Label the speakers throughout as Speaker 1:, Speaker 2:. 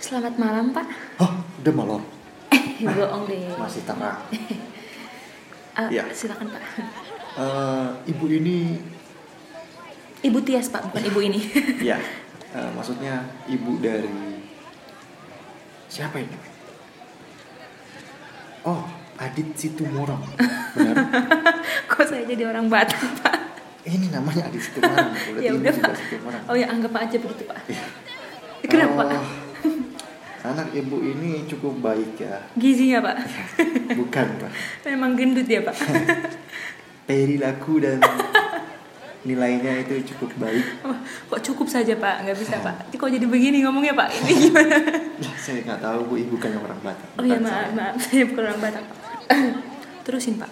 Speaker 1: Selamat malam, Pak.
Speaker 2: Hah, udah malam.
Speaker 1: Eh, bohong deh.
Speaker 2: Masih terang.
Speaker 1: Ah,
Speaker 2: Iya.
Speaker 1: Silakan, Pak.
Speaker 2: Eh, ibu ini,
Speaker 1: Ibu Tias, Pak, bukan ibu ini. Iya.
Speaker 2: ya, eh, maksudnya ibu dari siapa ini? Oh, Adit Situmorang. Benar.
Speaker 1: Kok saya jadi orang Batak, Pak?
Speaker 2: ini namanya Adit Situmorang. Berarti
Speaker 1: Ya
Speaker 2: ini
Speaker 1: udah,
Speaker 2: juga
Speaker 1: Pak.
Speaker 2: Situmorang.
Speaker 1: Oh ya, anggap aja begitu, Pak. Kenapa?
Speaker 2: Oh, anak ibu ini cukup baik ya.
Speaker 1: Gizinya, Pak.
Speaker 2: Bukan, Pak.
Speaker 1: Memang gendut ya, Pak.
Speaker 2: Perilaku dan nilainya itu cukup baik.
Speaker 1: Wah, Oh, Kok cukup saja, Pak? Nggak bisa,
Speaker 2: Iya.
Speaker 1: Pak. Kok jadi begini ngomongnya, Pak? Ini gimana?
Speaker 2: Lah, saya nggak tahu bu, ibu bukan orang Batak.
Speaker 1: Oh ya,
Speaker 2: bukan
Speaker 1: maaf,
Speaker 2: saya.
Speaker 1: maaf. Saya bukan orang Batak, Pak. Terusin, Pak.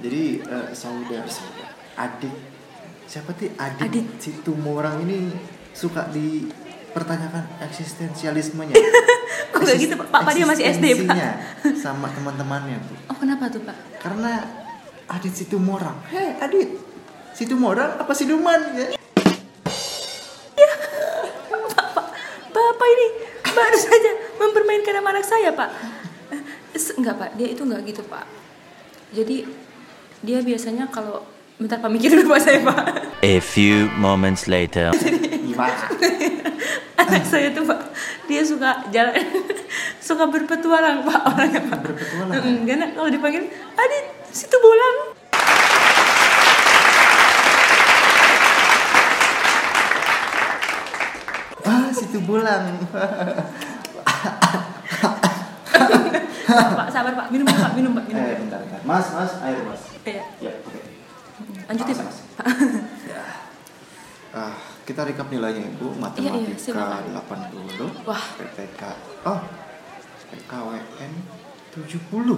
Speaker 2: Jadi eh, saudara saudara adik siapa sih adik,
Speaker 1: Adik.
Speaker 2: si Tumorang ini suka dipertanyakan eksistensialismenya.
Speaker 1: Kok nggak gitu, Pak? Pak, Pak, dia masih SD, Pak.
Speaker 2: Eksistensinya sama teman-temannya bu.
Speaker 1: Oh, kenapa tuh, Pak?
Speaker 2: Karena Adit si Tumorang. Hei Adit, si Tumorang apa si Duman ya?
Speaker 1: Bapak ini baru saja mempermainkan nama anak saya, Pak. Eh, Se- Enggak, Pak. Dia itu enggak gitu, Pak. Jadi dia biasanya kalau bentar Pak mikir dulu Pak saya, Pak.
Speaker 3: A few moments later.
Speaker 2: Gimana?
Speaker 1: Anak saya tuh, Pak, dia suka jalan suka berpetualang, Pak, orangnya, Pak.
Speaker 2: Berpetualang? ya?
Speaker 1: Mm, Karena kalau dipanggil, "Adit, situ bolang."
Speaker 2: Ah si Tubulang.
Speaker 1: Pak, sabar, Pak. Minum, Pak. Minum, Pak. Minum.
Speaker 2: eh bentar bentar. Mas mas air mas.
Speaker 1: Iya.
Speaker 2: Ya oke.
Speaker 1: Lanjutin, Pak.
Speaker 2: Mas, Ah, kita rekap nilainya
Speaker 1: Iya, iya,
Speaker 2: Ibu, matematika
Speaker 1: silakan.
Speaker 2: 80,
Speaker 1: Wah.
Speaker 2: PTK oh, PKWN 70.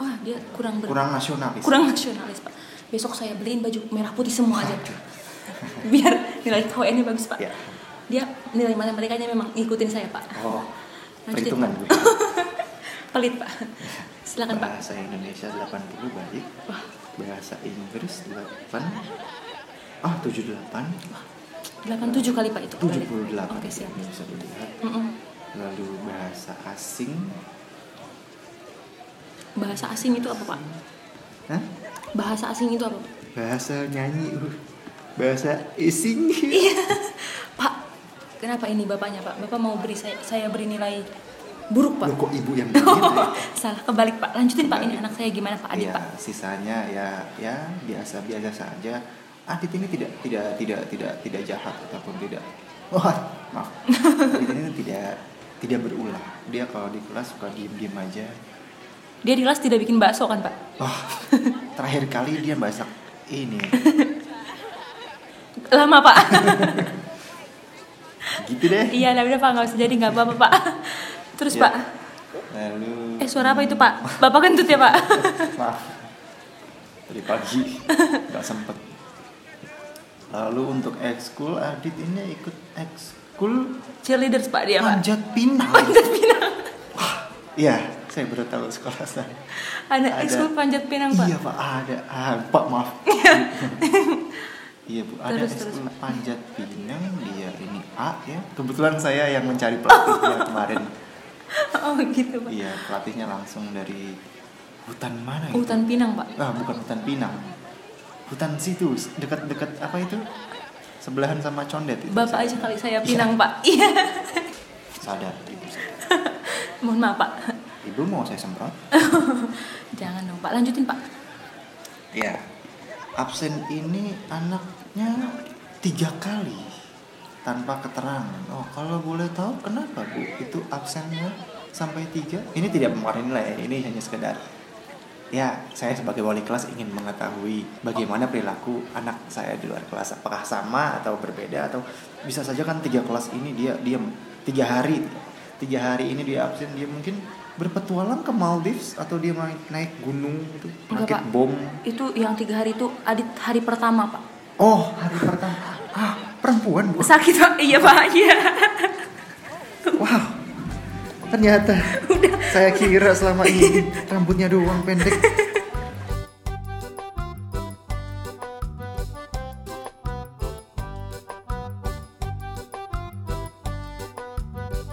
Speaker 1: Wah, dia kurang ber
Speaker 2: Kurang nasionalis.
Speaker 1: kurang nasionalis pak besok saya beliin baju merah putih semua aja biar nilai KWN nya bagus pak
Speaker 2: Ya.
Speaker 1: dia nilai matematikanya memang ngikutin saya pak
Speaker 2: Oh.
Speaker 1: Lanjutin.
Speaker 2: Perhitungan gue.
Speaker 1: pelit pak ya. silakan pak
Speaker 2: Bahasa Indonesia 80 baik.
Speaker 1: Wah.
Speaker 2: Bahasa Inggris 8. Ah, 78.
Speaker 1: 87 kali pak itu kebalik.
Speaker 2: 78.
Speaker 1: oke siap
Speaker 2: Ini bisa dilihat.
Speaker 1: Mm-mm.
Speaker 2: Lalu bahasa asing.
Speaker 1: bahasa asing itu apa pak
Speaker 2: Hah?
Speaker 1: bahasa asing itu apa Pak?
Speaker 2: Bahasa nyanyi. Bu. Bahasa ising.
Speaker 1: Iya, pak kenapa ini bapaknya pak bapak mau beri saya, saya beri nilai buruk pak
Speaker 2: Loh, kok ibu yang begitu ya?
Speaker 1: salah kebalik pak lanjutin pak ini anak saya gimana pak adik
Speaker 2: ya,
Speaker 1: pak
Speaker 2: sisanya ya ya biasa biasa saja. Adit ini tidak tidak tidak tidak tidak jahat ataupun tidak. Wah, maaf. Adit ini tidak tidak berulah. Dia kalau di kelas suka diem-diem aja.
Speaker 1: dia di kelas tidak bikin bakso kan pak
Speaker 2: Wah, terakhir kali dia masak ini.
Speaker 1: lama pak
Speaker 2: Gitu deh.
Speaker 1: Iya, lah udah Pak, nggak usah jadi nggak apa-apa Pak. Terus
Speaker 2: Ya.
Speaker 1: Pak,
Speaker 2: Lalu
Speaker 1: eh suara apa itu Pak? Bapak kentut ya Pak?
Speaker 2: Maaf. Dari pagi nggak sempet. Lalu untuk ekskul Adit ini ikut ekskul
Speaker 1: Cheerleaders Iya, Pak dia Pak.
Speaker 2: panjat pinang.
Speaker 1: Panjat pinang.
Speaker 2: Iya, saya baru tahu sekolah saya.
Speaker 1: Anak
Speaker 2: Ada.
Speaker 1: ekskul panjat pinang Pak.
Speaker 2: Iya pak, ada. Ah, pak maaf. iya bu, ada
Speaker 1: Terus, terus,
Speaker 2: ekskul panjat pinang dia ini A ya. Kebetulan saya yang mencari pelatihnya kemarin.
Speaker 1: Oh gitu Pak.
Speaker 2: Iya, pelatihnya langsung dari hutan mana itu?
Speaker 1: Oh, Hutan pinang Pak.
Speaker 2: Ah, bukan hutan pinang. Hutan situ, dekat-dekat apa itu? Sebelahan sama condet itu.
Speaker 1: Bapak
Speaker 2: Saya
Speaker 1: aja kali saya pinang Pak. Iya.
Speaker 2: Sadar, ibu. sadar.
Speaker 1: Mohon maaf Pak.
Speaker 2: Ibu mau saya semprot?
Speaker 1: Jangan dong Pak, lanjutin Pak.
Speaker 2: Iya. Absen ini anaknya tiga kali tanpa keterangan. Oh, kalau boleh tahu kenapa bu itu absennya sampai tiga? Ini tidak mengeluarkan nilai, ini hanya sekedar. Ya, saya sebagai wali kelas ingin mengetahui bagaimana perilaku anak saya di luar kelas. Apakah sama atau berbeda atau bisa saja kan tiga kelas ini dia diam tiga hari, tiga hari ini dia absen dia mungkin berpetualang ke Maldives atau dia main- naik gunung itu
Speaker 1: Enggak,
Speaker 2: rakit
Speaker 1: Pak.
Speaker 2: bom
Speaker 1: Itu yang tiga hari itu adit hari pertama Pak.
Speaker 2: Oh, hari pertama. Ah, perempuan, Bu.
Speaker 1: Sakit Pak? Iya Pak, iya.
Speaker 2: Wow. Ternyata. Saya kira selama ini rambutnya doang pendek.